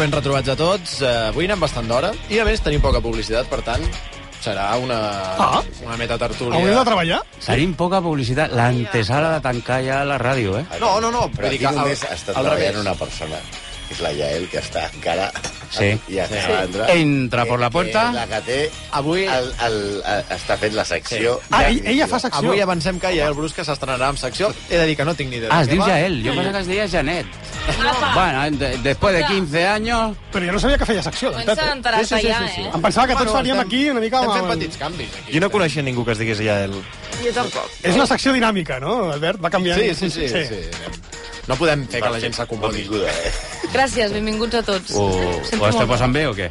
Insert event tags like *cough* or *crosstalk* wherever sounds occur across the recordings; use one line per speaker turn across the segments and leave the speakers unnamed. ben retrobats a tots. Eh, Avui anem bastant d'hora i, a més, tenim poca publicitat, per tant, serà una,
Ah.
una metatertúlia.
Haureu de treballar?
Tenim poca publicitat. L'antesala de tancar ja la ràdio, eh?
No, no, no,
Però
vull dir
aquí
que al-
només està
al
treballant
revés.
una persona, que és la Yael, que està encara...
Sí.
I a sí. Andra,
Entra por la
que-
puerta.
Que la que té...
Avui-
El, el, el, està fent la secció...
Sí.
Ah, ell- ella fa secció.
Avui avancem que Jael Brusca s'estrenarà amb secció. He de dir que no tinc ni idea.
Ah,
de
es
què
diu
va.
Jael. Jo pensava que es deia Janet. Bueno, de- después de 15 años...
Però jo no sabia que feia secció. de veritat,
Comença a enterar-se
Sí, sí, sí,
ja,
sí, sí.
eh? Em pensava que tots
Bueno,
faríem
estem-
aquí una mica...
Estem fent
amb-
petits canvis, aquí.
Jo no coneixia ningú que es digués Yael.
eh? Jo tampoc.
És una secció dinàmica, no, Albert? Va canviant.
Sí, sí, sí. sí. sí. No podem fer que la gent s'acomodi.
Benvinguda, eh?
Gràcies, benvinguts a tots.
Ho, Oh, ho esteu
molt.
posant bé o què?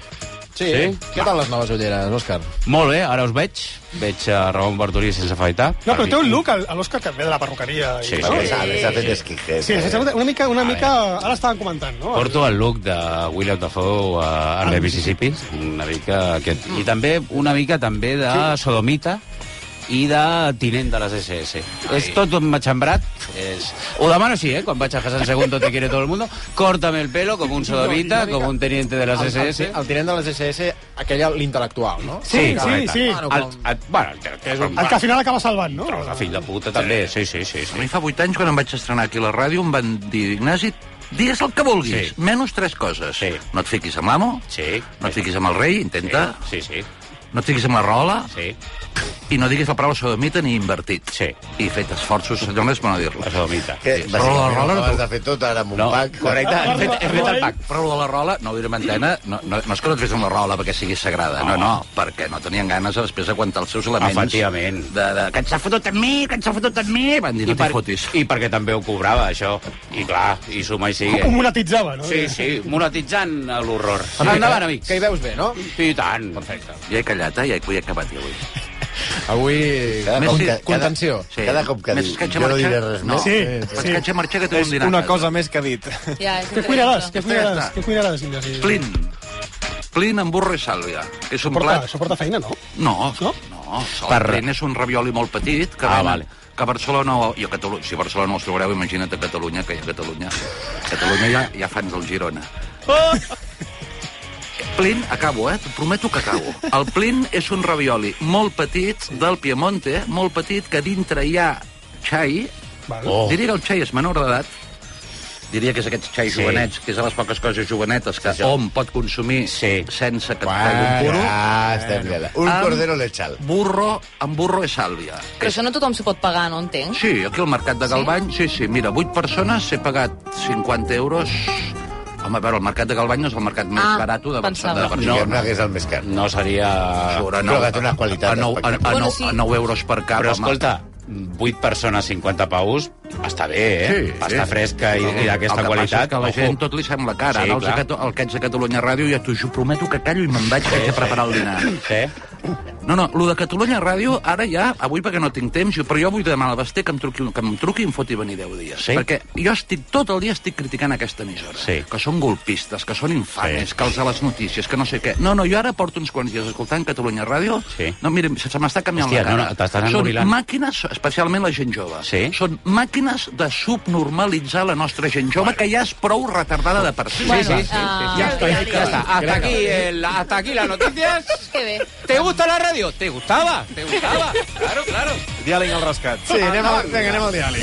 Sí?
Sí?
Què tal les noves ulleres, Òscar?
Molt bé, ara us veig. Veig a Ramon Bartolí sense afaitar.
No, però té un look al- a l'Òscar que ve de la perruqueria. i-
Sí,
no?
sí.
S'ha s'ha fet eh? esquijés.
Sí, sí, una mica, una mica... Ara estaven comentant, no?
Porto el look de William Dafoe
Ah,
a, a The Mississippi, una mica aquest. I també una mica també de Sodomita i de tinent de les SS. És tot un matxembrat. És... Ho demano així, eh? Quan vaig a Hassan Segundo te quiere todo el mundo, córtame el pelo com un sodomita, com un teniente de les
El,
SS.
el, el tinent de les SS, aquell l'intel·lectual, no?
Sí, sí,
correcte.
sí.
Bueno,
El, el, bueno, el, que és un...
El que al final acaba salvant, no?
Tros de fill de puta, també. Sí, sí, sí.
A
sí.
mi fa 8 anys, quan em vaig estrenar aquí a la ràdio, em van dir, Ignasi, digues el que vulguis,
Sí.
sí. menys tres coses.
Sí.
No et fiquis amb l'amo,
Sí.
no et fiquis amb el rei, intenta,
Sí, sí,
no et fiquis amb la rola,
sí.
i no diguis la paraula sodomita ni invertit.
Sí.
I fet esforços, allò no és per no
La
dir-la.
sodomita.
Que,
Sí.
bàsicament,
Rola, rola,
ho
no.
has de fer tot ara amb un
No,
pack.
correcte, hem fet, hem fet el pack.
Però lo de la rola, no ho direm en antena, no, no, no és que no et fes amb la rola perquè sigui sagrada, no, no, perquè no tenien ganes de després aguantar els seus elements.
Efectivament.
De, de, que et s'ha fotut amb mi, que et s'ha fotut amb mi, van dir, no t'hi fotis.
I perquè també ho cobrava, això. I clar, i suma i sigue.
Ho monetitzava, no?
Sí, sí, monetitzant l'horror. Endavant, amics.
Que hi veus bé, no?
I tant. Perfecte.
Ja he callat, eh? ja he, ja he acabat, ja avui.
Avui...
Cada
Més
cop
sí,
que, cada,
contenció.
cada cop que
Més eh,
dius,
que haig de
jo no
marxar,
diré res
no.
més.
Sí,
Vaig
sí.
que haig de marxar, que té un
És
dinar.
una cosa més que ha dit.
Ja, és
Què cuinaràs? Què
increïble.
cuinaràs?
està.
Què cuinaràs, Ignasi?
Plin. Plin amb burro i sàlvia. Que és un
Porta,
plat...
això porta feina, no?
No,
No?
no, no. El
Per-
plin és un ravioli molt petit que,
Ah,
venen-
vale.
que a Barcelona o i a Catalunya, si a Barcelona els trobareu, imagina't a Catalunya, que hi ha Catalunya. A Catalunya ja, ja fans del Girona. Plin, acabo, eh? T'ho prometo que acabo. El plin és un ravioli molt petit del Piemonte, molt petit, que dintre hi ha xai.
Val.
Oh. Diria que el xai és menor d'edat, diria que és aquests xais
Sí.
sí. jovenets, que és de les poques coses jovenetes que sí, hom pot consumir
Sí.
sí. sense que et tagui un puro.
Ah, estem bé. Un
Amb-
cordero lechal.
Burro, amb burro i sàlvia.
Però això no tothom s'ho pot pagar, no entenc.
Sí, aquí al Mercat de Galbany, sí, sí, mira, 8 persones, he pagat 50 euros... Home, a veure, el Mercat de Galbany no és el mercat més
Ah,
barat de Barcelona.
pensava.
De Barcelona.
Diguem-ne que és el més car.
No seria...
Sobre
Però que té una qualitat
a 9, a, a,
espectacular.
9,
Bueno, sí.
a 9 euros per cap.
Però
home.
escolta, 8 persones, 50 paus, està bé, eh?
Sí,
Pasta
sí.
fresca i, i d'aquesta qualitat.
el que Passa és que a la
ojo.
gent tot li sembla cara.
Sí,
Sí, Ara, els
clar.
de Cato- el que ets de Catalunya Ràdio, ja t'ho jo prometo que callo i me'n vaig, que haig de preparar el dinar.
Sí?
No, no, lo de Catalunya Ràdio, ara ja, avui perquè no tinc temps, jo- però jo vull demanar al Basté que em truqui, que em truqui i em foti venir 10 dies.
Sí?
Perquè jo estic, tot el dia estic criticant aquesta emissora.
Sí.
Que són golpistes, que són infames,
Sí.
sí. que els de les notícies, que no sé què. No, no, jo ara porto uns quants dies escoltant Catalunya Ràdio.
Sí.
No, mira, se se m'està canviant
Hòstia,
la cara.
no, no, t'estàs
són
ennurilant.
màquines, especialment la gent jove,
Sí.
són màquines de subnormalitzar la nostra gent jove, que ja és prou retardada de per si.
Bueno,
sí, sí,
ah,
Ja, està, ja està. Hasta aquí, el, hasta aquí las noticias.
Que bé.
¿Te gusta la radio? ¿Te gustaba? ¿Te gustaba? Claro, claro.
Diàleg al rescat.
Sí, anem al, vinga, anem al diàleg.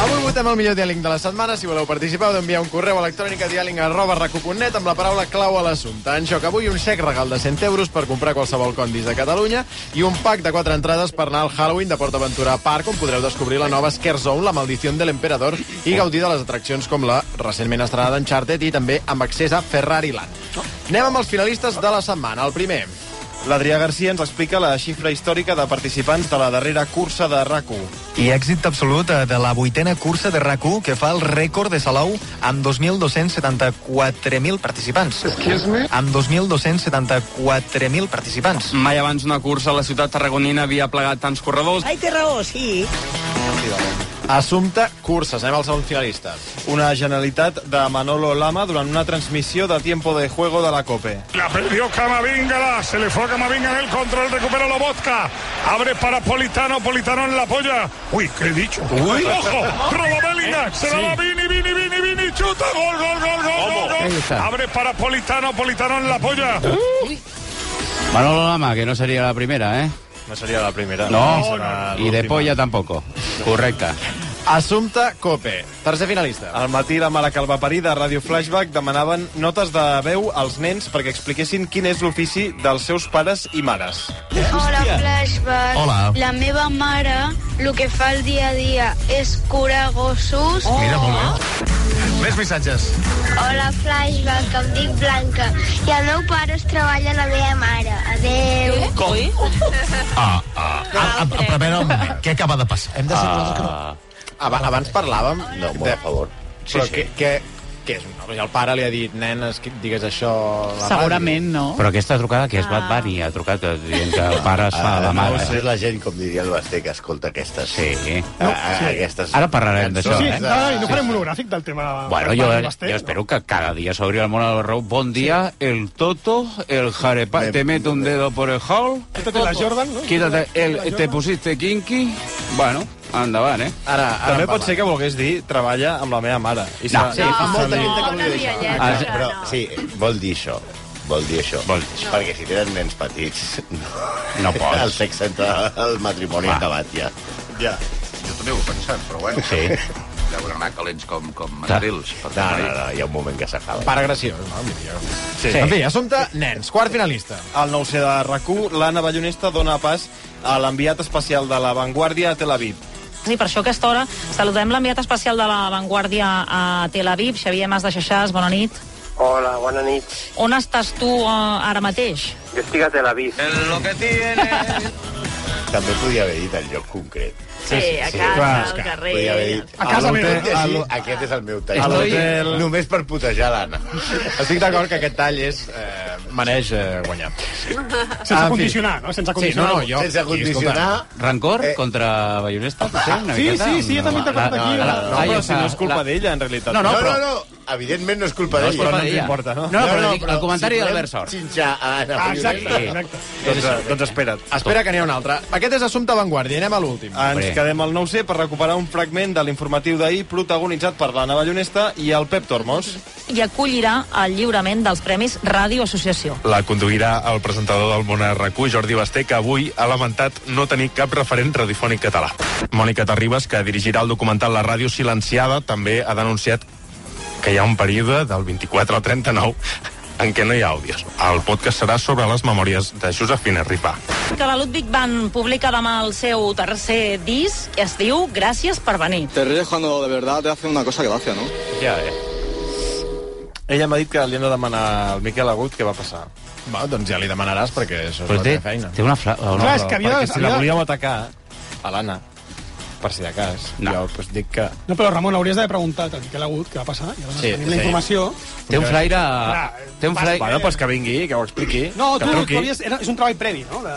Avui votem el millor diàleg de la setmana. Si voleu participar, heu d'enviar un correu electrònic a diàleg arroba recu.net amb la paraula clau a l'assumpte. En joc avui un xec regal de 100 euros per comprar qualsevol condis de Catalunya i un pack de 4 entrades per anar al Halloween de Port Aventura Park, on podreu descobrir la nova Scare Zone, la maldició de l'emperador, i gaudir de les atraccions com la recentment estrenada Uncharted i també amb accés a Ferrari Land. Anem amb els finalistes de la setmana. El primer,
L'Adrià Garcia ens explica la xifra històrica de participants de la darrera cursa de rac
I èxit absolut eh, de la vuitena cursa de rac que fa el rècord de Salou amb 2.274.000 participants. Amb 2.274.000 participants.
Mai abans una cursa a la ciutat tarragonina havia plegat tants corredors.
Ai, té raó, sí.
Assumpte Curses. Anem al segon finalista.
Una generalitat de Manolo Lama durant una transmissió de Tiempo de Juego de la COPE.
La perdió Camavinga, se le fue a Camavinga en el control, recupera Lobotka, abre para Politano,
Eh,
Politano en la polla. Uy, ¿qué he dicho? Uy. ¡Ojo! Roba Bellingham, se la va Vini, Vini, Vini, Vini, y chuta. Gol, gol, gol, gol, gol,
Ahí
gol.
está.
Abre para Politano, Politano en la polla.
Manolo Lama, que no sería la primera, ¿eh?
No sería la primera.
No,
serà
y de
l'última.
polla tampoco. Correcta.
Assumpta Cope, tercer finalista.
Al matí la mare que el va parir de Radio Flashback demanaven notes de veu als nens perquè expliquessin quin és l'ofici dels seus pares i mares.
Hola, Flashback.
Hola.
La meva mare el que fa el dia a dia és curar gossos. Oh.
Mira, molt bé. Més missatges.
Hola, Flashback, em dic Blanca. I el meu pare es treballa la meva mare. Adeu.
Com? Ui. Ah, ah, ah, ah, però a veure un moment, què acaba de passar? Hem de
Ah.
ser coses que no...
Aba- Abans parlàvem... No,
molt a favor.
Sí, però sí. que, que, que és un home, i el pare li ha dit, nenes, que digues això... a la
Segurament no.
Però aquesta trucada, que és Bad Bunny, ha trucat eh, dient que el pare es fa
Ah,
la mare.
No, és la gent, com diria el Basté, que escolta aquestes...
Sí.
No, sí. Aquestes...
Ara parlarem d'això,
Sí,
eh?
no, no farem monogràfic del tema...
Bueno,
del
jo, eh,
Basté,
jo espero que cada dia s'obri el món al rock. Bon dia, el Toto, el Jarepa, te meto un dedo por el hall.
Quítate la Jordan, no?
Quítate el, te pusiste kinky. Bueno, endavant, eh?
Ara, ara També pot ser que volgués dir treballa amb la meva mare. I
No. Sí,
Ah,
fa
molta
servir-
gent que
vol dir això.
Ah, sí, però, sí, vol dir això. Vol dir això. Vol dir això. Perquè si tenen nens petits... No,
no pots.
El sexe entre el matrimoni Va.
Va.
acabat, ja.
Ja. Jo també ho he pensat, però bueno.
Sí.
Deuen anar calents com, com mandrils. per
No,
fer-ho.
no, no, hi ha un moment que s'acaba.
Pare graciós, no? Sí. sí. En fi, assumpte, nens, quart finalista.
Al nou c de RAC1, l'Anna Ballonesta dona pas a l'enviat especial de la Vanguardia a Tel Aviv.
Sí, per això a aquesta hora saludem l'enviat especial de la Vanguardia a Tel Aviv, Xavier Mas de Xaixàs, bona nit.
Hola, bona nit.
On estàs tu eh, ara mateix?
Jo estic a Tel Aviv. En lo que tiene...
També podria haver dit el lloc concret.
Sí, a casa,
Clar,
al
clar.
carrer.
Eh,
Podria haver dit,
A casa
a l'hotel,
meva.
sí,
A l'ho-
Aquest és el meu tall.
A l'hotel.
Només per putejar l'Anna.
Estic d'acord que aquest tall és... Eh, mereix eh, guanyar.
Ah, Sense
En fi.
condicionar, no? Sense condicionar.
Sí, no, no, jo...
Sense condicionar.
Rancor eh. contra Ballonesta, potser, una
Sí,
miqueta?
sí, sí, jo també
No,
t'acordo
la-
aquí.
la- la-
No,
la-
però
la-
si no és culpa
Ah, la-
d'ella, en realitat.
No, no, però...
no, no, evidentment no és culpa
No és
d'ella.
culpa d'ella. No, no, però dic, el comentari
si
d'Albert
podem
Sort.
Xinxar a Anna
Ah,
Ballonesta.
exacte,
exacte.
Doncs, doncs espera't.
Espera que n'hi ha un altre. Aquest és assumpte avantguàrdia, anem a l'últim.
Ens quedem al 9C per recuperar un fragment de l'informatiu d'ahir protagonitzat per l'Anna Ballonesta i el Pep Tormos.
I acollirà el lliurament dels Premis Ràdio Associació.
La conduirà el presentador del món RQ, Jordi Basté, que avui ha lamentat no tenir cap referent radiofònic català. Mònica Terribas, que dirigirà el documental La Ràdio Silenciada, també ha denunciat que hi ha un període del 24 al 39 en què no hi ha àudios. El podcast serà sobre les memòries de Josefina Ripà.
Que la Ludwig Van publica demà el seu tercer disc, que es diu Gràcies per venir.
Te ríes cuando de verdad te hace una cosa gracia, ¿no?
Ja, eh? Ella m'ha dit que li hem de demanar al Miquel Agut què va passar.
Va, doncs ja li demanaràs perquè això és
Però
la
té,
teva feina.
té una... Fra... una...
Clar, és que havia-
Perquè si la
havia-
volíeu atacar, a l'Anna, per si de cas, no. jo pues, dic que...
No, però Ramon, hauries d'haver preguntat a Miquel Agut què va passar, i aleshores sí,
Sí,
tenim la
sí.
informació.
Té un flaire... Té un flaire...
eh.
Bueno, pues que vingui, que ho expliqui.
No,
Que
tu,
truqui.
tu havies, era, és un treball previ, no? De...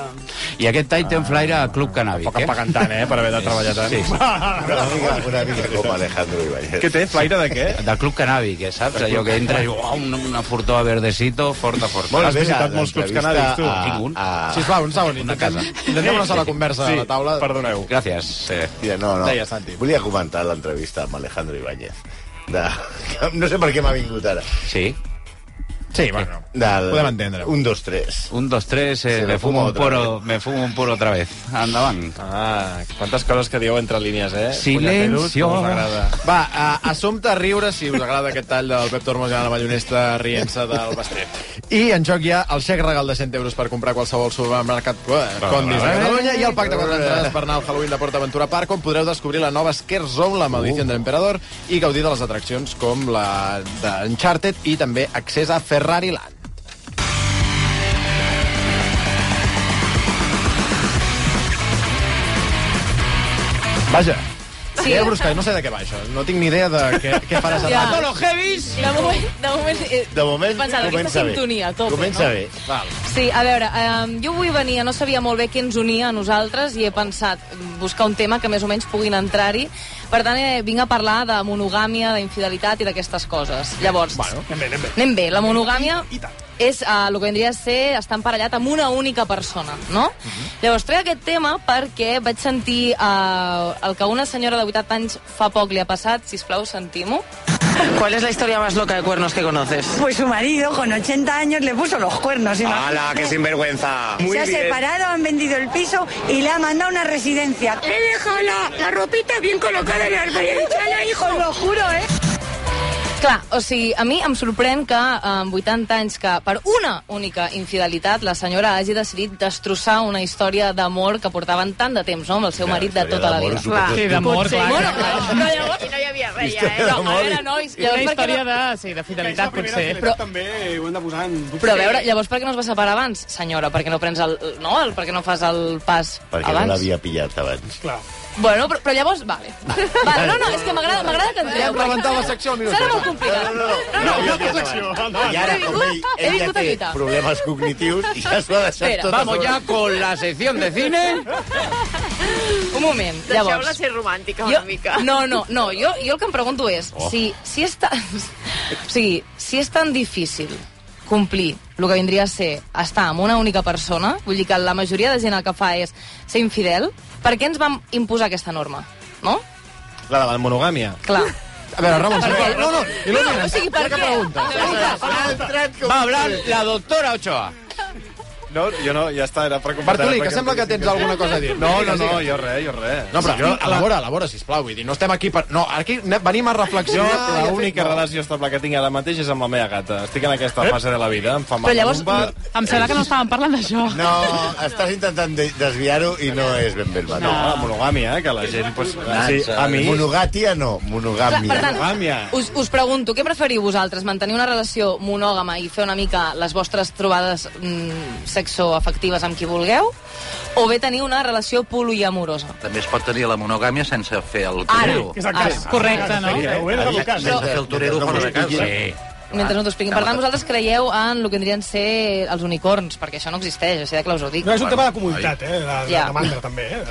I aquest tall té un flaire a Club Cannàbic, eh? Poc
pagant tant, eh, per haver de treballar tant.
Sí.
Una mica, una mica com Alejandro Ibáñez.
*laughs* Què té, flaire de què?
Del Club Cannàbic, eh, saps? Allò que entra i diu, oh, una, una furtó a verdecito, forta, forta.
Molt Has bé, visitat la- molts clubs l'entrevista cannàbics, tu? a-
Tinc un.
a-
Sisplau, un segon.
Una casa.
Intentem una sola conversa
Sí,
a la taula.
Perdoneu.
Gràcies. eh,
Mira, no, no.
Deia, Santi.
Volia comentar l'entrevista amb Alejandro Ibáñez. De... *laughs* No sé per què m'ha vingut ara.
Sí?
Sí, bueno.
Del...
Podem entendre-ho.
Un, dos, tres.
Un, dos, tres, eh,
Se
me fumo
lo fumo
un
otra
puro, me fumo un puro otra vez. Endavant.
Ah, quantes coses que dieu entre línies, eh?
Silencio.
Pullateros, com us agrada.
Va, a, assumpte a riure si us agrada aquest tall del Pep Tormos i la Ballonesta rient-se del Basté. I en joc hi ha el xec regal de 100 euros per comprar qualsevol supermercat eh, Condis de Catalunya i el pacte contra entrades per anar al Halloween de Port Aventura Park on podreu descobrir la nova Scare Zone, la
Uh.
maldició de l'emperador i gaudir de les atraccions com la d'Uncharted i també accés a Ferrari Land. Vaja.
Sí.
100 euros, que no sé de què va això. No tinc ni idea de què, què
*laughs*
farà
Ja.
setmana.
De moment, de moment, eh,
De moment,
he pensat, aquesta
comença bé.
sintonia, a tope,
Comença
no?
bé. Val.
Sí, a veure, eh, jo avui venia, no sabia molt bé què ens unia a nosaltres i he pensat mm, buscar un tema que més o menys puguin entrar-hi. Per tant, eh, vinc a parlar de monogàmia, d'infidelitat i d'aquestes coses. Llavors,
Bueno, anem bé, anem bé.
anem bé. La monogàmia és eh, el que vindria a ser estar emparellat amb una única persona, no?
Mhm.
Llavors, trec aquest tema perquè vaig sentir eh, el que a una senyora de 80 anys fa poc li ha passat. Sisplau, sentim-ho.
¿Cuál es la historia más loca de cuernos que conoces?
Pues su marido, con 80 años, le puso los cuernos. imagínate.
¡Hala, qué sinvergüenza!
se ha separado, han vendido el piso y le ha mandado a una residencia. Le he dejado la, ropita bien colocada en el armario. hijo, lo juro, ¿eh?
Clar, o sigui, a mi em sorprèn que amb 80 anys que per una única infidelitat la senyora hagi decidit destrossar una història d'amor que portaven tant de temps, no?, amb el seu marit de tota la vida.
d'amor, Clar. Sí, d'amor,
Potser,
clar,
Bueno,
clar, clar.
no, llavors,
I no hi havia
res,
ja, eh? No, a veure,
nois,
Una
llavors per què
història
no-
de, sí, de fidelitat, potser.
Però... També ho hem de posar en dubte.
Però a veure, llavors per què no es va separar abans, senyora? Per què no prens el... No? El, per què no fas el pas
Perquè
abans?
no l'havia pillat abans.
Clar.
Bueno, però, però llavors, vale.
*laughs*
vale. No, no, és que m'agrada m'agrada que entreu.
Hem rebentat la secció al minut.
Serà molt complicat. No, no, no.
No,
no,
jo
no,
secció,
endavant.
I ara,
He
com
vingut-
ell,
he
ell ja
vingut a
té
lluitar.
problemes cognitius, i ja s'ho ha deixat
Espera.
tot a
Vamos
sobre.
ya
con la sección de cine.
Un moment,
Deixeu-la
llavors.
ser romàntica
Jo,
una mica.
no, no, no, jo, jo el que em pregunto és
Oh.
si, si, és tan, *laughs* o sigui, si és tan difícil complir el que vindria a ser estar amb una única persona, vull dir que la majoria de gent el que fa és ser infidel, per què ens vam imposar aquesta norma? No?
La de la monogàmia.
Clar.
A veure, Ramon,
Per
sisplau.
què?
No, no, il·lumina.
No, o sigui, per
Ja que
què?
pregunta.
Va hablar la doctora Ochoa.
No, jo no, ja està, era per completar.
Bartolí,
perquè
que sembla que tens alguna cosa a dir.
No, no,
Digues,
no,
digues.
jo res, jo res.
No, però
jo,
aquí, elabora, elabora, sisplau. Vull dir, no estem aquí per... No, aquí ne- venim a
Jo,
reflexionar... i a fer-
l'única relació estable que tinc ara mateix és amb la meva gata. Estic en aquesta fase de la vida, em fa mal.
Però llavors...
un bat.
*laughs* Em sembla que no estàvem parlant d'això.
No, estàs intentant de- desviar-ho i no és ben bé el
No,
bató.
la monogàmia, eh, que la gent... Pues, sí, a mi...
Monogàtia no,
Clar,
monogàmia.
per tant, us, us pregunto, què preferiu vosaltres? Mantenir una relació monògama i fer una mica les vostres trobades mm, sexoafectives amb qui vulgueu? O bé tenir una relació poliamorosa?
També es pot tenir la monogàmia sense fer el
Ara,
torero.
ara. Ah, Correcte, no?
Ho he de buscar,
Sense fer el torero fora de casa.
Mentre no t'ho expliquin. Per tant, vosaltres creieu en el que vindrien a ser els unicorns, perquè això no existeix, així de clar us ho dic.
No, és un tema de comunitat, eh? De, de
Ja.
demanda, també, eh?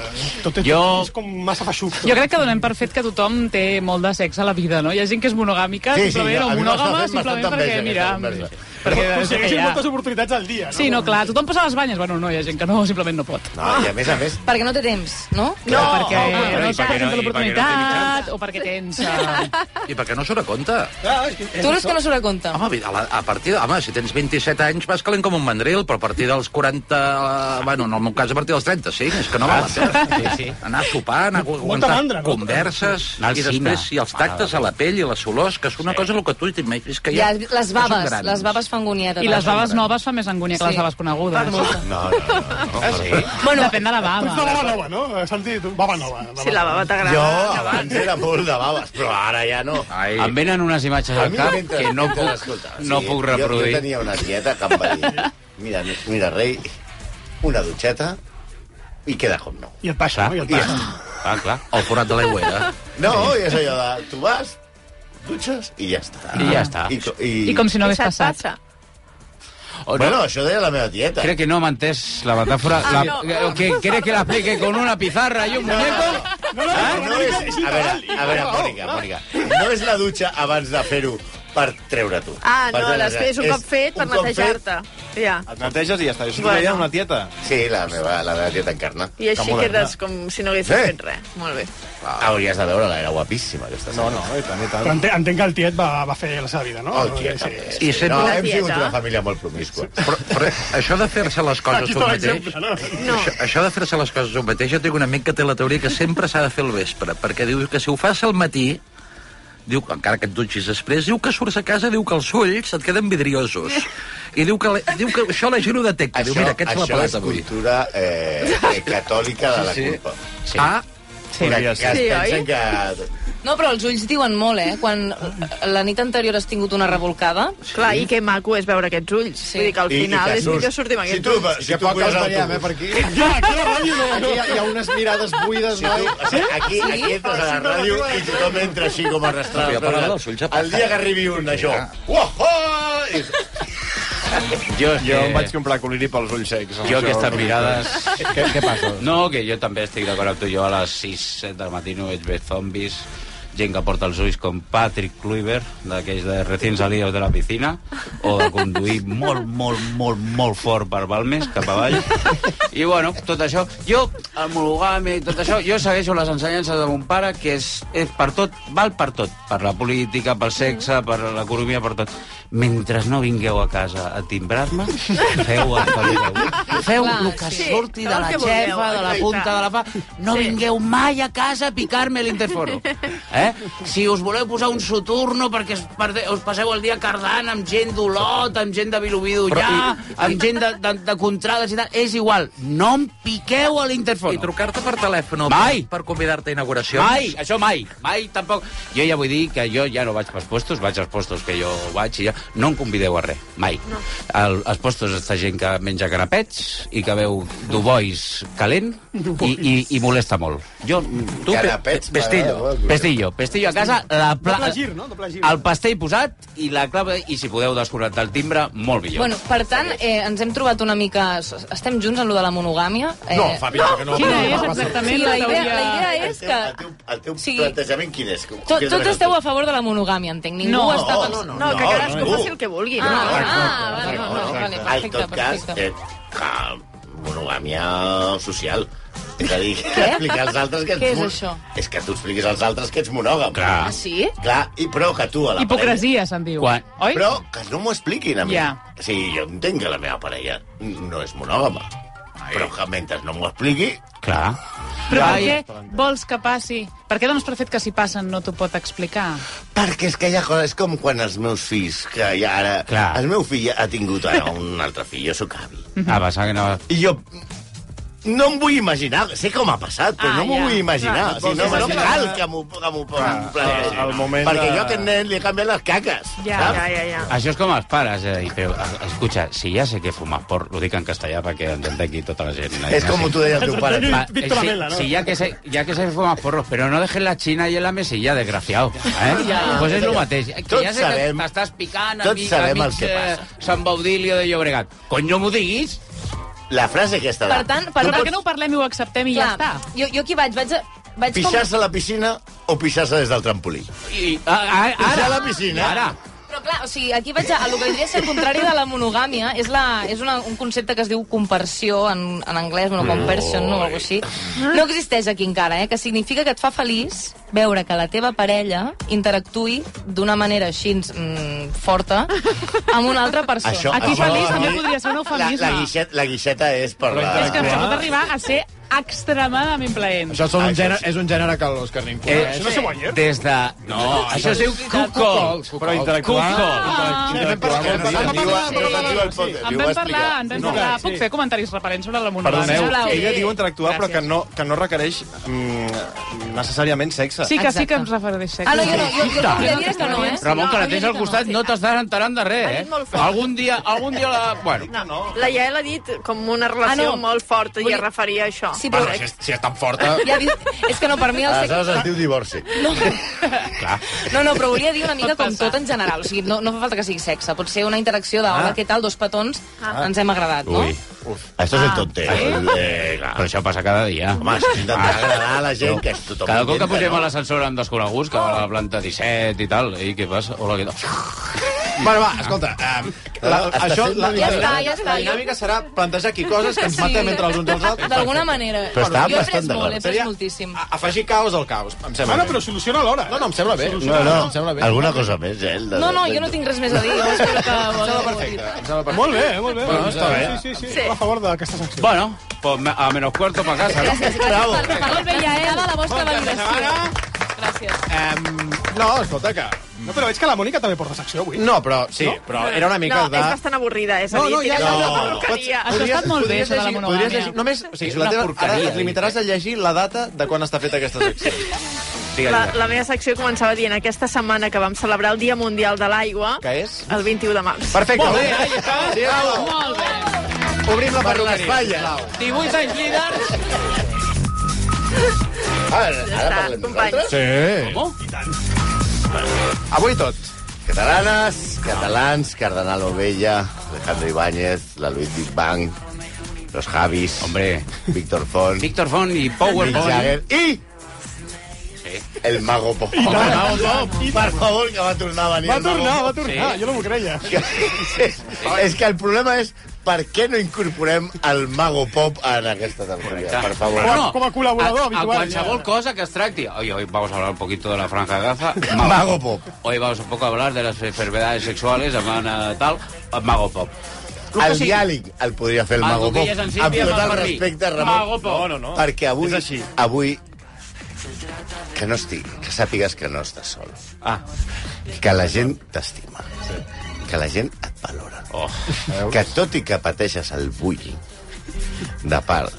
Tot és,
Jo-
és com massa feixuc.
Jo crec que donem per fet que tothom té molt de sexe a la vida, no? Hi ha gent que és monogàmica,
Sí, sí,
simplement,
a
o
mi m'està
monògama,
fent
simplement
bastanta
perquè,
enveja
mira...
aquesta
Perquè és el que hi
Aconsegueixen
ha.
moltes oportunitats al dia, no?
Sí, no, clar, tothom posa les banyes. Bueno, no, hi ha gent que no, simplement no pot.
No, i a més a més...
Perquè no té temps, no?
No, perquè
no,
no,
i
et
perquè no- i
presenta
perquè no té
l'oportunitat, o perquè tens... eh,
I perquè no surt a compte.
Ah,
Tu no és que no surt a compte.
Home, a, la, a partir... Home, si tens 27 anys vas calent com un mandril, però a partir dels 40... eh, Bueno, en el meu cas, a partir dels 35, és que no val la pena.
Sí, sí.
Anar a sopar, anar a aguantar
mandra, no?
converses,
Anar al
i
cine.
després sí, els tactes a la pell i les olors, que és una cosa el que tu t'imagines que hi
Ja,
ha.
les
que són
baves,
grans.
les baves fan gonyetes.
I les baves noves fan més angúnia que les
Sí.
baves conegudes. Ah,
No, no, no. no sí.
Bueno, Depèn de la
Tu ets de
baba.
Ah, baba nova, no? Santi, tu, baba nova.
Si la baba t'agrada,
Jo abans era molt de babes, però ara ja no. Ai.
Em venen unes imatges al cap que no puc, no puc
Jo, jo
reproduir.
tenia una tieta que em va dir, mira, mira, rei, una dutxeta i queda com nou.
I et passa, no? I et passa.
Ah, clar. El forat de l'aigua era.
No, i és allò de, tu vas, dutxes i ja està.
I ja està.
I, co- i...
I com si no hagués
Exacte.
passat.
O
Bueno, això deia la meva tieta.
Creo que no mantés la metáfora.
Ah,
La-
no.
o que ¿Quieres que la explique con una pizarra y un muñeco?
No, no, no, és, a veure, a veure, Mònica, Mònica. No és la dutxa abans de fer-ho per treure-t'ho.
Ah,
Per
no,
treure-t'ho.
les fes un
És
cop fet per
un cop fet
netejar-te. Ja.
Et neteges i ja està. Això
Bueno.
bueno. deia una tieta.
Sí, la meva, la meva tieta encarna.
I així
Que moderna.
quedes com si no haguessis
Eh?
fet res. Molt bé.
Hauries Ah, de veure-la, era guapíssima, aquesta senyora.
No, no, i tant, i
Però entenc, entenc que el tiet va, va fer la seva vida, no?
Oh, tieta.
I
I
sempre-
sempre... No,
La
hem
tieta.
sigut una família molt promiscua.
Però, però això de fer-se les coses
Aquí
un
està
mateix...
l'exemple,
No. Això, això de fer-se les coses un mateix, jo tinc un amic que té la teoria que sempre s'ha de fer el vespre, perquè diu que si ho fas al matí, diu, encara que et dutxis després, diu que surts a casa, diu que els ulls et queden vidriosos. I diu que, la- diu que això la gent ho detecta. Diu, mira, aquest se l'ha
això és
pelat avui.
cultura eh, eh, catòlica de la
Sí, sí.
culpa.
Sí. Ah,
Sí. Que, que es
Sí,
pensen
oi?
que...
No, però els ulls diuen molt, eh? Quan la nit anterior has tingut una revolcada...
Sí. Clar, i que maco és veure aquests ulls. Sí. Vull dir que al
I- i
final
que
és
surts.
millor sortir amb
Si
aquests
tu-
ulls.
si
Que
tu
poc
vas
els
al
veiem, eh,
autobús.
per aquí. Ja, aquí a la ràdio no. Aquí hi ha, hi ha unes mirades buides,
Si tu,
noi.
o sigui, aquí, aquí entres a la ràdio i tothom entra així com arrastrat.
Però jo parlava dels ulls de
El dia que arribi un d'això... Uahó! I-
Jo,
és
jo
eh,
que-
em vaig comprar coliri pels ulls secs.
Eh, Jo aquestes mirades...
Què, què passa?
No, que jo també estic d'acord amb tu. Jo a les 6, 7 del matí no veig bé zombis, gent que porta els ulls com Patrick Kluivert, d'aquells de recient salidos de la piscina, o de conduir molt, molt, molt, molt fort per Balmes, cap avall. I bueno, tot això... Jo, el monogami, tot això, jo segueixo les ensenyances de mon pare, que és, és per tot, val per tot, per la política, pel sexe, per l'economia, per tot. Mentre no vingueu a casa a timbrar-me, feu el que vulgueu. Feu
Clar,
el que
sí.
surti de
El
la
que vulgueu,
xefa, de la
exacte.
punta de la pa... No
Sí.
vingueu mai a casa a picar-me l'interforo.
*laughs*
Eh? Si us voleu posar un soturno perquè es perde- us passeu el dia cardant amb gent d'Olot, amb gent de Vilobí d'Ullà, amb gent de, de, de Contrades i tal, és igual. No em piqueu a l'interforo. I
trucar-te per telèfon
Mai!
per convidar-te a inauguracions.
Mai, això mai, mai tampoc. Jo ja vull dir que jo ja no vaig pels postos, vaig als postos que jo vaig i ja... No em convideu a res, mai. No. El, als postos està gent que menja canapets i que veu dubois calent i, i, i molesta molt. Jo, mm, tu,
Canapets,
pe- pestillo,
m'agrada molt.
pestillo, pestillo a casa, la pla...
Doble gir, no? Doble gir.
el pastell posat i la clava, i si podeu desconnectar el timbre, molt millor.
Bueno, per tant, eh, ens hem trobat una mica... Estem junts en lo de la monogàmia? Eh,
No, fa pinta que no.
Quina
No,
és
no, no.
exactament la
Sí,
teoria? La idea,
El
és
teu-
que...
El teu, el teu
Sí.
plantejament quin és?
To, tots esteu a favor de la monogàmia, entenc. Ningú
No,
està
no,
pensant...
no, no, No, que cadascú no, no. faci el
que vulgui.
no?
Ah,
Exacte,
ah, vale, no, no, vale,
En
perfecte,
tot cas,
perfecte.
eh, cal monogàmia social. És a dir,
Què?
explicar als altres que ets...
Què és
mon-
això?
És que tu expliquis als altres que ets monògam.
Clar.
Ah, sí?
Clar, i però que tu a la
Hipocresia, se'n diu.
Quan?
Oi?
Però que no m'ho expliquin a mi.
Ja.
Sí, jo entenc que la meva parella no és monògama. Però que mentre no m'ho expliqui...
Clar.
Però per què vols que passi? Per què dones per fet que si passen no t'ho pot explicar?
Perquè és que hi ha coses, és com quan els meus fills, que ja ara... Clar. El meu fill ha tingut ara un altre fill, jo sóc avi.
Ah, pensava que no...
I jo... No em vull imaginar, sé com ha passat, però
Ah,
no m'ho
ja.
vull imaginar.
Clar,
o sigui, no, no
vols imaginar-
cal que m'ho que m'ho
sí, sí,
plantegin.
el moment
Perquè jo
de-
a aquest nen li he canviat les caques. saps?
Això és com els pares, eh? dir, però, a- escucha, si ja sé que fumas por, ho dic en castellà perquè ens entengui tota la gent.
És com tu
*laughs*
deies tu pare.
Va, eh,
Víctor
sí,
Amela, no?
sí, ya que sé, ya que sé fumar porros, pero no dejes la China ahí en la mesilla, desgraciado. ¿eh?
Ja.
pues és el mateix.
Tots
Que ja sé
sabem-
que t'estàs picant a
tots
mi, a
sabem el que passa.
Sant Baudilio de Llobregat. Cony, no m'ho diguis.
La frase aquesta de...
Per tant, per
Però
tant...
per què no ho parlem i ho acceptem i ja està?
Jo, jo aquí vaig, vaig... a- vaig
Pixar-se a la piscina o pixar-se des del trampolí?
I, a, a,
Pixar Pues a la piscina. Ara.
Però clar, o sigui, aquí vaig a, a lo que diria ser el contrari de la monogàmia. És, la, és una, un concepte que es diu compersió en, en anglès, bueno, compersion, no, o alguna així. No existeix aquí encara, eh? Que significa que et fa feliç veure que la teva parella interactui d'una manera així mm, forta amb una altra persona.
Això-
Aquí
això-
feliç també podria ser un
La,
eufemisme.
la, guixeta, la guixeta és per la...
És que això pot arribar a ser extremadament plaent.
Això són un gènere, és un gènere que l'Òscar ningú
Eh,
coneix.
això no sé guanyar. Des de... No, això es diu cuckols.
Cucols, Però intel·lectual.
En vam parlar, en vam parlar. Puc fer comentaris referents sobre la monogàmia?
Perdoneu,
Sisplau.
ella
Sí.
diu interactuar, però que no, que no requereix mm, necessàriament sexe.
Sí que sí que ens refereix a
Ah, no, jo no, jo, jo, jo diria que no, eh?
Ramon, que la tens al costat, no t'estàs enterant de res, eh? Algun dia, algun dia la... Bueno,
No, no. La Yael ha dit com una relació
Ah,
ah,
no.
no. molt forta i es referia a això.
Sí,
Bueno, si és, si és tan forta...
Ja dic, és que no, per mi el
Aleshores es
sexe...
diu divorci.
No, no, però volia dir una mica
Pot
com
passar.
tot en general. O sigui, no, no fa falta que sigui sexe. Pot ser una interacció de hola, què tal, dos petons,
Ah.
ens hem agradat, no?
Ui.
Això és el tonter. Eh, clar.
Però això passa cada dia.
Home, has d'intentar agradar a la gent, que és tothom
Cada cop que
intenta,
posem
no?
a l'ascensor amb desconeguts, que va a la planta 17 i tal, ei, què passa? Hola, què tal?
*laughs* Bueno, va, escolta, eh, la,
No, està
això,
sent una
la, la,
mica-
la,
Ja està, ja està,
la
jo-
dinàmica serà plantejar aquí coses que ens matem entre els uns i els altres.
D'alguna manera.
Però estava
jo he pres
bastant
molt,
d'acord. Ah.
he pres Doncs moltíssim.
Afegir caos al caos, em sembla
Bueno,
bé.
Ah, però soluciona l'hora.
No, no, em sembla bé.
No,
Soluciona, Em
no,
sembla bé.
alguna cosa més, eh? el de-
No, no, jo no tinc res més a dir. Jo espero que...
Em sembla perfecte. Em sembla perfecte.
Molt bé, molt bé.
Bueno, està bé.
Sí, sí, sí, sí. A favor d'aquesta secció.
Bueno, pues me- a menos cuarto pa casa,
Gràcies,
no?
gràcies per, per molt bé, Jael. la vostra valoració. Gràcies.
No, escolta, que...
No, però veig que la Mònica també porta secció avui.
No, però sí, però era una mica
no,
de...
és bastant avorrida, és a
No,
dir,
no, ja, ja, ja,
no,
no.
porqueria.
Això ha estat molt bé, això
Podries
de la
llegir-
monogàmia.
podries llegir- Només, o sigui,
És
la
una
teva,
porqueria,
ara et
dic.
limitaràs a llegir la data de quan està feta aquesta secció.
La, la meva secció començava dient aquesta setmana que vam celebrar el Dia Mundial de l'Aigua,
Que és?
el 21 de març.
Perfecte.
Molt bé.
ahí està. Bravo.
Molt bé.
Obrim la
Per les
perruqueria.
falles.
18 anys líders.
Ara,
Ja
ara
està,
parlem
companys.
nosaltres?
Sí.
Com?
Avui tot.
Catalanes, catalans, Cardenal Ovella, Alejandro Ibáñez, la Luis Big Bang, los Javis,
Hombre.
Víctor Font,
Víctor Font i
Mick Jagger
PowerPoint.
i...
Sí.
El Mago Pop.
I tant.
El Mago *laughs* Pop, per favor, que va tornar a venir
Va
el Mago
tornar,
Pop. *laughs*
va tornar, jo no m'ho creia.
És que el problema és per què no incorporem el Mago Pop en aquesta temporada, per favor.
com a col·laborador
a,
habitual,
A qualsevol cosa que es tracti. Hoy, hoy vamos a hablar un poquito de la franja
*laughs*
gaza. Mago,
Pop.
Hoy vamos un poco a hablar de las enfermedades sexuales, hermana tal. Mago Pop.
El diàleg el podria fer el
Algo
Mago
que
Pop.
Ah, ja és en Sílvia
Amb tot
fa
el
per mi.
respecte,
Mago
Ramon.
Pop. No, no, no.
Perquè avui,
És així.
avui que no estic, que sàpigues que no estàs sol. Ah. Que la gent t'estima. Sí. Que la gent et valora. Oh. Que tot i que pateixes el bullying de part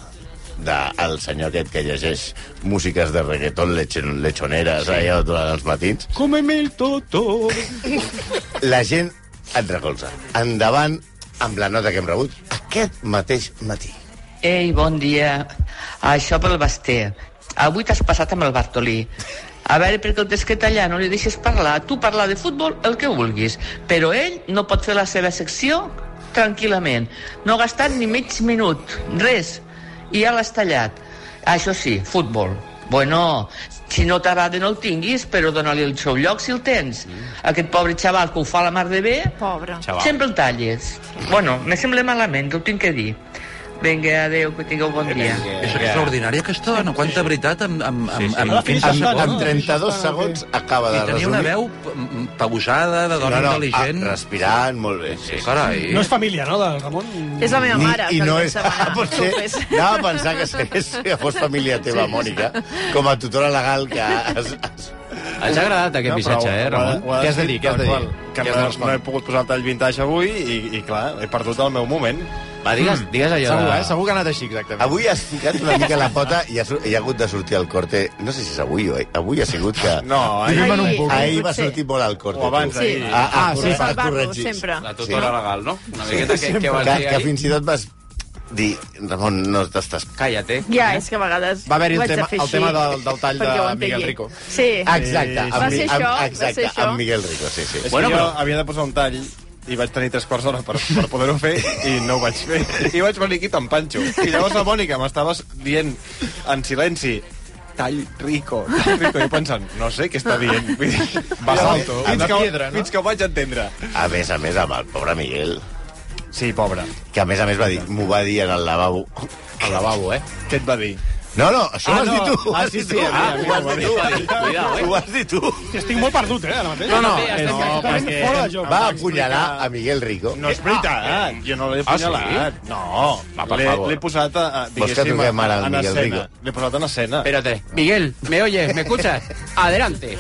del senyor aquest que llegeix músiques de reggaeton lechon, lechoneres sí. allà durant els matins,
Cómeme el toto.
la gent et recolza. Endavant amb la nota que hem rebut aquest mateix matí.
Ei, bon dia. Això pel Basté. Avui t'has passat amb el Bartolí. A veure, perquè el tens que tallar, no li deixes parlar. Tu parla de futbol el que vulguis, però ell no pot fer la seva secció tranquil·lament. No ha gastat ni mig minut, res, i ja l'has tallat. Això sí, futbol. Bueno, si no t'agrada no el tinguis, però dona-li el seu lloc si el tens. Aquest pobre xaval que ho fa la mar de bé,
Pobre.
Sempre el talles. Bueno, me sembla malament, ho tinc que dir. Vinga, adeu, que tingueu bon dia.
És extraordinària aquesta dona, quanta veritat amb, amb, amb, amb, fins
Amb,
a
amb
segons.
32 segons acaba de
I tenia una veu pausada, de dona intel·ligent.
Ah, respirant, molt bé. Sí,
carai.
No és família, no, del Ramon?
És la meva
Ni-
mare.
I
que
no
em
és...
va demanar
Ah, potser
que ho fes.
anava a pensar que,
*laughs*
segués, que fos família teva, Mònica, com a tutora legal que has... has...
Ens ha agradat aquest missatge, eh, Ramon?
Què has de dir? Què has de dir? Que
Què
no,
has de dir?
no he pogut posar el tall vintage avui i, i clar, he perdut el meu moment.
Va, digues- digues allò
Segur,
de-
eh? Segur que ha anat així, exactament.
Avui has ficat una mica la pota i ha, sur- i ha hagut de sortir al corte. No sé si és avui o avui ha sigut que...
No, ahir-
ahir,
Ahir,
ahir va
potser.
sortir molt al corte.
O abans,
tu.
ahir. Sí.
A, a, a,
Ah, sí,
corre- a,
salvar-lo,
corregir.
sempre.
La tutora legal, no? Una miqueta que, que vas
que,
dir
que
ahir.
fins i tot vas dir, Ramon, no t'estàs...
Cállate.
Ja, és que a vegades
Va haver-hi el
ho haig de
tema-
fer
el
així
tema del- del tall
perquè
de
ho entengui.
Miguel Rico.
Sí.
Exacte, amb, Mi-
Sí, sí, sí. Va ser
amb,
això,
exacte,
va ser
amb
això.
Miguel Rico, sí, sí. Bueno,
És bueno, que jo
però-
però... havia de posar un tall i vaig tenir tres quarts d'hora per, per poder-ho fer i no ho vaig fer. I vaig venir aquí tan panxo. I llavors la Mònica m'estaves dient en silenci tall rico, tall rico. I jo pensant, no sé què està dient. Vull *laughs* dir,
Basalto.
Fins
Una
que,
piedra, no?
fins que ho vaig entendre.
A més a més, amb el pobre Miguel.
Sí, pobre.
Que a més a més va dir, m'ho va dir en el lavabo. Al lavabo, eh?
Què et va dir?
No, no, això
Ah,
ho has
no.
dit tu. ho
Ah,
has
sí,
dit
sí,
tu.
a mi, a mi
ho has
m'ho va
dit
dir.
tu.
Cuidao, eh?
Ho has dit tu.
Estic molt perdut, eh, ara mateix.
No, no,
Estic
eh, no,
completament
perquè-
fora de joc.
Va apunyalar a Miguel Rico.
No és veritat, eh. jo no l'he
Ah, sí?
apunyalat.
Va,
No,
per
l'he-
favor.
l'he posat, a, a,
Vols que
diguéssim,
truquem ara al
en
Miguel
escena.
Rico?
L'he posat en escena.
Espérate. Miguel, ¿me oyes? ¿Me escuchas? Adelante.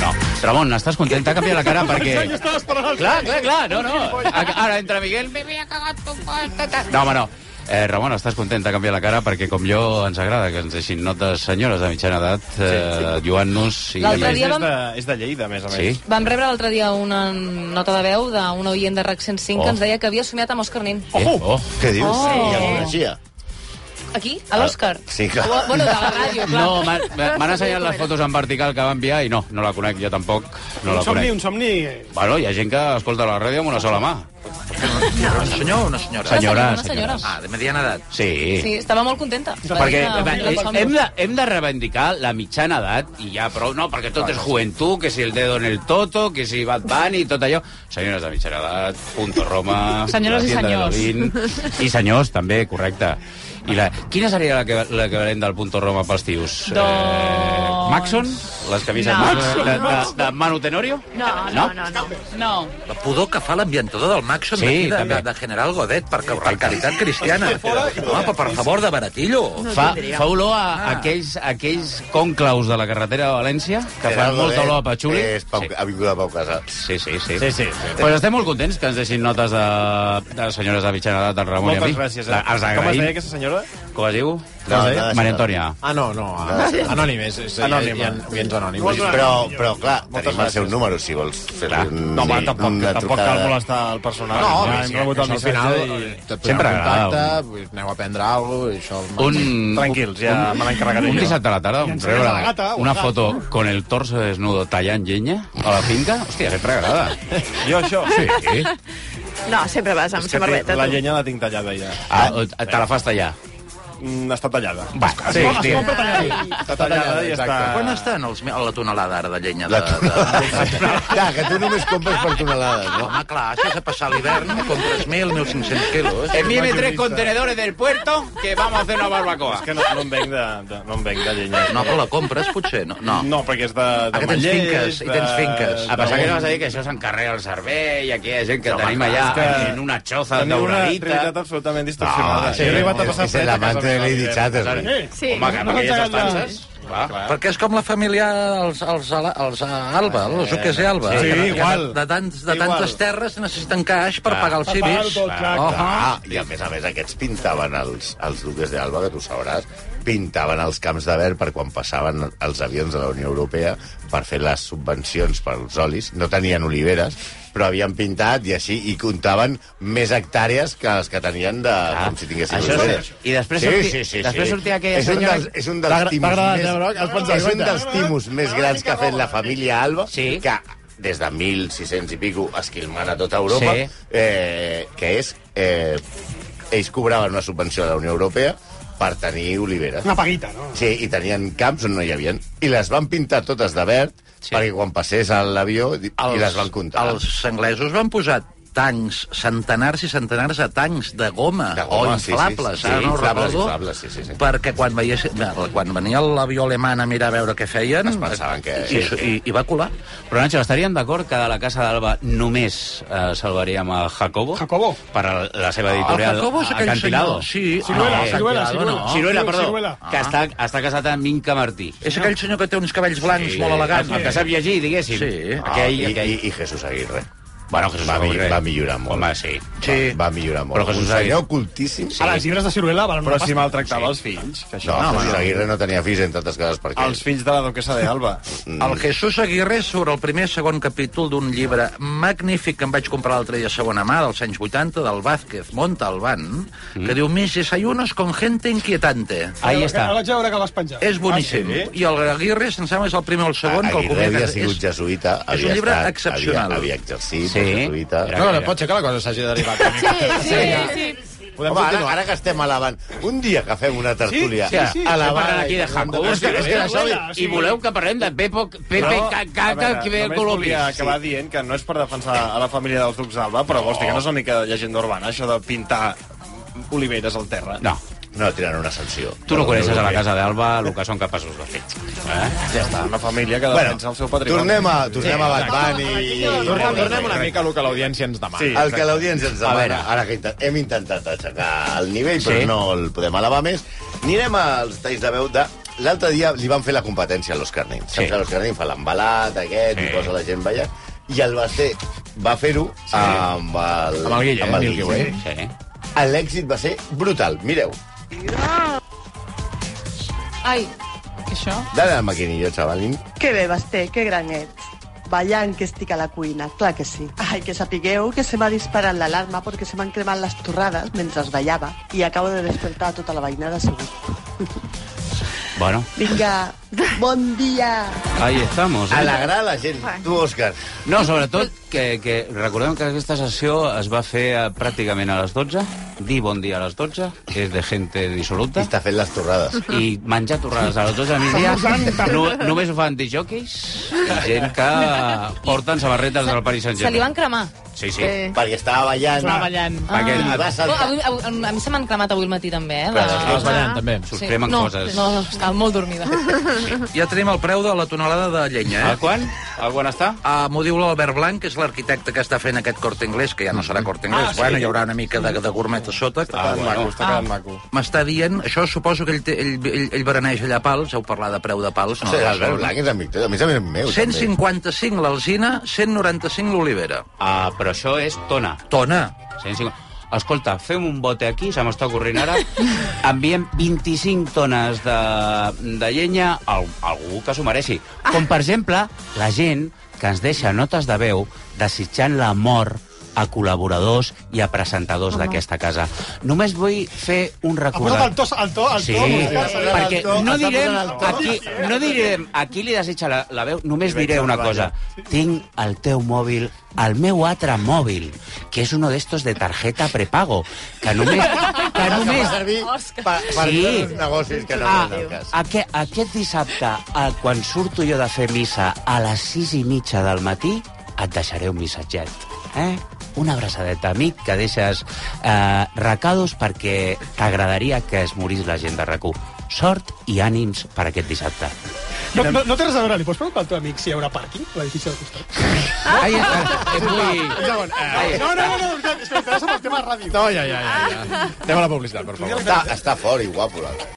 No. Ramon, estàs content? T'ha canviat la cara perquè...
Jo estava esperant el
Clar,
tall.
clar, clar, no, no. Ara entra Miguel, me voy a cagar tu puerta. ta- No, home, no. Eh, Ramon, estàs content de canviar la cara perquè com jo ens agrada que ens deixin notes senyores de mitjana edat, eh, lluant-nos i...
L'altre dia vam-
de, és de Lleida, a més a més.
Sí?
Vam rebre l'altre dia una nota de veu d'un oient de RAC 105
Oh.
que ens deia que havia somiat amb Òscar Nin.
Eh, oh, què dius?
Oh.
Oh. I el coneixia.
Aquí, a l'Òscar.
Sí, clar.
O- Bueno, de la ràdio, clar.
No, m'han m'han ensenyat les fotos en vertical que va enviar i no, no la conec, jo tampoc no la
un somni,
conec.
un somni...
Bueno, hi ha gent que escolta la ràdio amb una sola mà.
Un senyor o una senyora?
Una senyora, una senyora.
Ah, de mediana edat.
Sí.
Sí, estava molt contenta. Va
Perquè eh,
dir que-
va,
que som-
hem de, hem de reivindicar la mitjana edat i ja prou, no, perquè tot és joventut, que si el dedo en el toto, que si Bad Bunny i tot allò. Senyores de mitjana edat, punto Roma...
Senyores
la
i
tienda de
senyors.
Berlín. I senyors, també, correcte. I la, quina seria la que, la que valent del punto Roma pels tios? Eh,
Doncs-
Maxon? Les camises
No.
de, de, de, de Manu Tenorio?
No,
No?
no, no. No. no.
La pudor que fa l'ambientador del Maxon
Sí,
d'aquí de,
també.
de, de, General Godet, per, per caritat cristiana. Home, però per favor, de baratillo.
Fa, fa olor a ah. aquells, aquells conclaus de la carretera de València que fan molta olor a patxuli.
És Pau, ha vingut a Pau Casas.
Sí, sí, sí.
Sí, sí, sí.
Pues estem molt contents que ens deixin notes de, de senyores de mitjana edat, del Ramon i a mi.
Moltes gràcies. Eh?
La, els
Com es
agraïm.
deia aquesta senyora?
Com es diu?
Com es deia?
Maria Antònia.
Ah, no, no.
No, sí.
Anònimes. és-
Anònima.
Hi ha, hi ha, hi ha anònimes.
Però, però clar, tenim el
gràcies.
seu número, si vols fer un,
No, home,
sí,
tampoc,
una
tampoc
trucada.
cal molestar el personal.
No,
Ja
home,
hem
sí,
rebut el
això al
missatge
final
i-
eh, et sempre
Sempre
contacte,
agrada.
vull dir, aneu a prendre alguna cosa, i això...
Un,
Tranquils, ja me n'encarregaré
un
jo.
dissabte a la tarda
I ens
rebre
anem a la gata, o
una
al gat.
foto con el torso desnudo tallant llenya a la finca, hòstia, sempre agrada.
Jo, això?
Sí.
No, sempre vas amb
És que té-
samarreta.
la
tu.
llenya la tinc tallada ja.
Ah, te la fas tallar.
mm, està tallada.
Va,
es, sí, es compra tallada.
Està
tallada i està-
Quan estan els, me- la tonelada ara de llenya? De, de... Clar, que tu només compres per tonelades, no? Home, clar, això és a passar l'hivern, compres 1.000, 1.500 quilos.
Eh,
Envíeme tres contenedores del puerto que vamos a hacer una barbacoa.
És que no, no en venc de, de, no en venc de llenya.
No, però la compres, potser, no?
Ah.
No,
no perquè és de, de
Ara tens
Manlleu,
finques, i tens
de-
eh,
finques.
A passar
de-
que no vas a dir que això s'encarrega el servei, i aquí hi ha gent que
Home,
tenim
clar,
allà
és que
en una xoza
Teniu una
dauradita.
realitat absolutament distorsionada.
sí, no, és
fred a
l'amante
casa
de
meva,
Lady
eh?
Chatter.
Sí.
Home, que amb aquelles estances...
Va, Perquè és com la família els, els, Ala- els Alba, els Uques i Alba.
Ah, Sí,
que, que
igual.
De, tants, de tantes
Igual.
terres necessiten caix per pagar els civis. Oh,
Ah, I a més a més, aquests pintaven els, els duques d'Alba, que tu sabràs, pintaven els camps de verd per quan passaven els avions de la Unió Europea per fer les subvencions pels olis. No tenien oliveres, però havien pintat i així, i comptaven més hectàrees que les que tenien de, ah, com si tinguessin
això sí.
oliveres.
I després
sí,
sorti-
sí, sí,
després
sí.
sortia aquella
és un
senyora-
Dels, és un
T'ha
dels
agra-
timos,
t'ha agradat,
més,
eh, Broc? Els pots
és un
aguantar.
dels timos més grans que ha fet la família Alba, sí. que des de 1.600 i pico esquilmant a tota Europa,
Sí.
sí. eh, que és... Eh, ells cobraven una subvenció de la Unió Europea per tenir oliveres.
Una paguita, no?
Sí, i tenien camps on no hi havia. I les van pintar totes de verd sí. perquè quan passés a l'avió i
Els-
les van comptar.
Els anglesos van posar tancs, centenars i centenars de tancs de goma, de
Home,
o
sí,
inflables,
sí, sí,
ara no ho
inflables,
recordo,
inflables, sí, sí, sí.
perquè quan, veies, quan venia l'avió alemany a mirar a veure què feien... Es pensaven que... I, i, i va colar.
Però, Nacho, estarien d'acord que de la Casa d'Alba només eh, salvaríem a Jacobo? Jacobo. Per a la seva editorial.
el Jacobo és aquell
Acantilado.
senyor, sí. Ciruela,
Ah,
Ciruela,
Acantilado,
Ciruela. Ah.
no. Ciruela, perdó.
Ciruela.
Que està, està casat amb Minca Martí.
És aquell senyor que té uns cabells blancs molt elegants.
El, el que sap llegir, diguéssim.
Sí.
Aquell,
Ah, i-
aquell...
I, i Jesús Aguirre.
Bueno, Jesús
va, mi-
Aguirre.
Va millorar molt.
Home, sí.
sí. Va, va millorar molt.
Però Jesús
Un senyor
Aguirre-
ocultíssim.
A les llibres de Ciruela valen
Però
una
si
pasta.
maltractava els fills. Que
No, no, Jesús Aguirre no tenia fills, entre altres coses, perquè...
Els fills de la duquesa de Alba.
Mm. El Jesús Aguirre sobre el primer i segon capítol d'un llibre magnífic que em vaig comprar l'altre dia a segona mà, dels anys 80, del Vázquez Montalbán, mm. que diu Mis desayunos con gente inquietante.
Ara- Ara vaig veure que el vas penjar.
És boníssim. Ah, sí? I el Aguirre, se'n sembla, és el primer o el segon que el
Ah, Aguirre havia
comenta.
sigut jesuïta,
un
havia
llibre
estat,
excepcional.
Havia, havia exercit,
Sí.
sí. jesuïta...
No, no, pot ser que la cosa s'hagi derivat.
Sí,
sí.
Podem Home, ara, ara que estem a l'avant, un dia que fem una tertúlia
Sí, sí, sí.
a l'avant...
Parlant aquí de Jacobo, és que- és que això- i voleu que parlem de Pepo, Pepe Caca, que ve el Colombi.
Volia acabar dient que no és per defensar a la família dels Ducs d'Alba, però vols dir que no és una mica de llegenda urbana, això de pintar oliveres al terra?
No.
No, tenen una sanció.
Tu no coneixes a la
Europea.
Casa d'Alba el que són capaços de fer. Eh?
Ja està, una família que defensa el seu patrimoni.
Tornem a, tornem
Sí,
a
exacte.
Bad Bunny.
Tornem, tornem una mica a lo que l'audiència ens demana.
Sí, el que l'audiència ens
A
demana,
veure.
ara que inte- hem intentat aixecar el nivell, però
Sí.
no el podem elevar més, anirem als talls de veu de... L'altre dia li van fer la competència a l'Òscar Nin. Saps
Sí.
que l'Òscar Nin fa l'embalat aquest, sí. i posa la gent ballant, i el Basté va fer-ho sí. amb el...
Amb el Guille,
amb
eh,
el
Milky Way.
Guille.
Sí.
L'èxit va ser brutal, mireu.
Ai,
això?
Dale al maquinillo, chavalín.
Que bé, Basté, que gran ets. Ballant que estic a la cuina, clar que sí. Ai, que sapigueu que se m'ha disparat l'alarma perquè se m'han cremat les torrades mentre es ballava i acabo de despertar tota la veïnada segur.
Bueno,
Vinga, *laughs* bon dia!
ahí estamos. Eh?
Alegrar a la gent. Tu, Òscar.
No, sobretot que, que recordem que aquesta sessió es va fer eh, pràcticament a les 12, dir bon dia a les 12, és de gente dissoluta. I
està fent les torrades.
*laughs*
I menjar torrades a les 12 del migdia. No, només ho fan dijòquis i gent que porten sabarretes del Paris
se li van
Saint-Germain.
cremar.
Sí, sí.
Eh,
Sí.
Perquè estava ballant.
Estava ballant.
Aquell
Ah.
va saltar.
Avui, avui, a mi se m'han cremat avui al matí, també, eh?
Clar, estàs ballant,
també.
Sí.
Us cremen
no,
coses.
No, no, estava molt dormida.
*laughs*
Ja tenim el preu de la tonelada de llenya. Eh?
Ah.
A quan? A quan està?
Uh, M'ho diu l'Albert Blanc, que és l'arquitecte que està fent aquest cort anglès, que ja no
Mm.
serà cort anglès.
Ah,
Ah,
sí.
sí. Bueno, hi haurà una mica de, de gourmet a sota.
Ah,
Està
Ah,
quedant maco, està quedant maco.
M'està dient, això suposo que ell, té, ell, ell, ell bereneja allà a pals, heu parlat de preu de pals.
Sí, Albert Blanc és amic teu, a més a més meu, també.
155 l'alzina, 195 l'olivera.
Ah, però això és tona.
Tona.
150. Escolta, fem un bote aquí, se m'està corrent ara, enviem 25 tones de, de llenya a al- algú que s'ho mereixi. Com, per exemple, la gent que ens deixa notes de veu desitjant la mort a col·laboradors i a presentadors d'aquesta casa. Només vull fer un
Aporta't el
recordat...
to, el to, el
Sí,
to.
perquè no
Està
direm,
posant el to.
aquí, no direm a qui li desitja la, la veu, només diré una cosa. Tinc el teu mòbil, el meu altre mòbil, que és uno d'estos de targeta prepago, que només... Que
*laughs*
només...
Per, per
Sí.
fer uns negocis que no
Ah,
venen al cas.
aquest, aquest dissabte, a, quan surto jo de fer missa a les 6 i mitja del matí, et deixaré un missatget. Eh? Una abraçadeta, amic, que deixes eh, recados perquè t'agradaria que es morís la gent de rac Sort i ànims per aquest dissabte.
No, no, no té res a veure, li pots preguntar al teu amic si hi haurà pàrquing a l'edifici del costat?
Ai,
Un segon. Eh,
No, no, no, no, espera, espera, espera, som el tema ràdio. Ah.
No, ja, ja, ja. ja. Anem a la publicitat, per favor.
Està, està fort i guapo, l'altre.